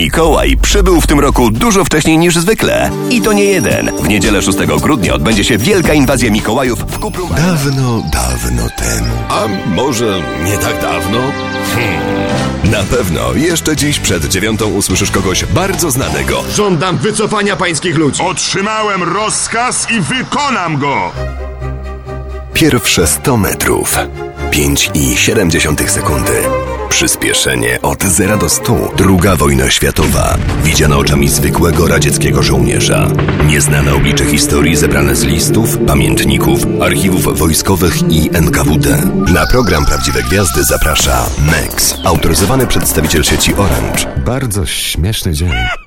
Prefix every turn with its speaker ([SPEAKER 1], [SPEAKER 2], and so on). [SPEAKER 1] Mikołaj przybył w tym roku dużo wcześniej niż zwykle. I to nie jeden. W niedzielę 6 grudnia odbędzie się wielka inwazja Mikołajów w Kuprum.
[SPEAKER 2] Dawno, dawno temu.
[SPEAKER 1] A może nie tak dawno? Hmm. Na pewno jeszcze dziś przed dziewiątą usłyszysz kogoś bardzo znanego.
[SPEAKER 3] Żądam wycofania pańskich ludzi.
[SPEAKER 4] Otrzymałem rozkaz i wykonam go!
[SPEAKER 1] Pierwsze 100 metrów. 5,7 sekundy. Przyspieszenie od 0 do 100. Druga wojna światowa. Widziana oczami zwykłego radzieckiego żołnierza. Nieznane oblicze historii zebrane z listów, pamiętników, archiwów wojskowych i NKWD. Na program Prawdziwe Gwiazdy zaprasza MEX, autoryzowany przedstawiciel sieci Orange.
[SPEAKER 2] Bardzo śmieszny dzień.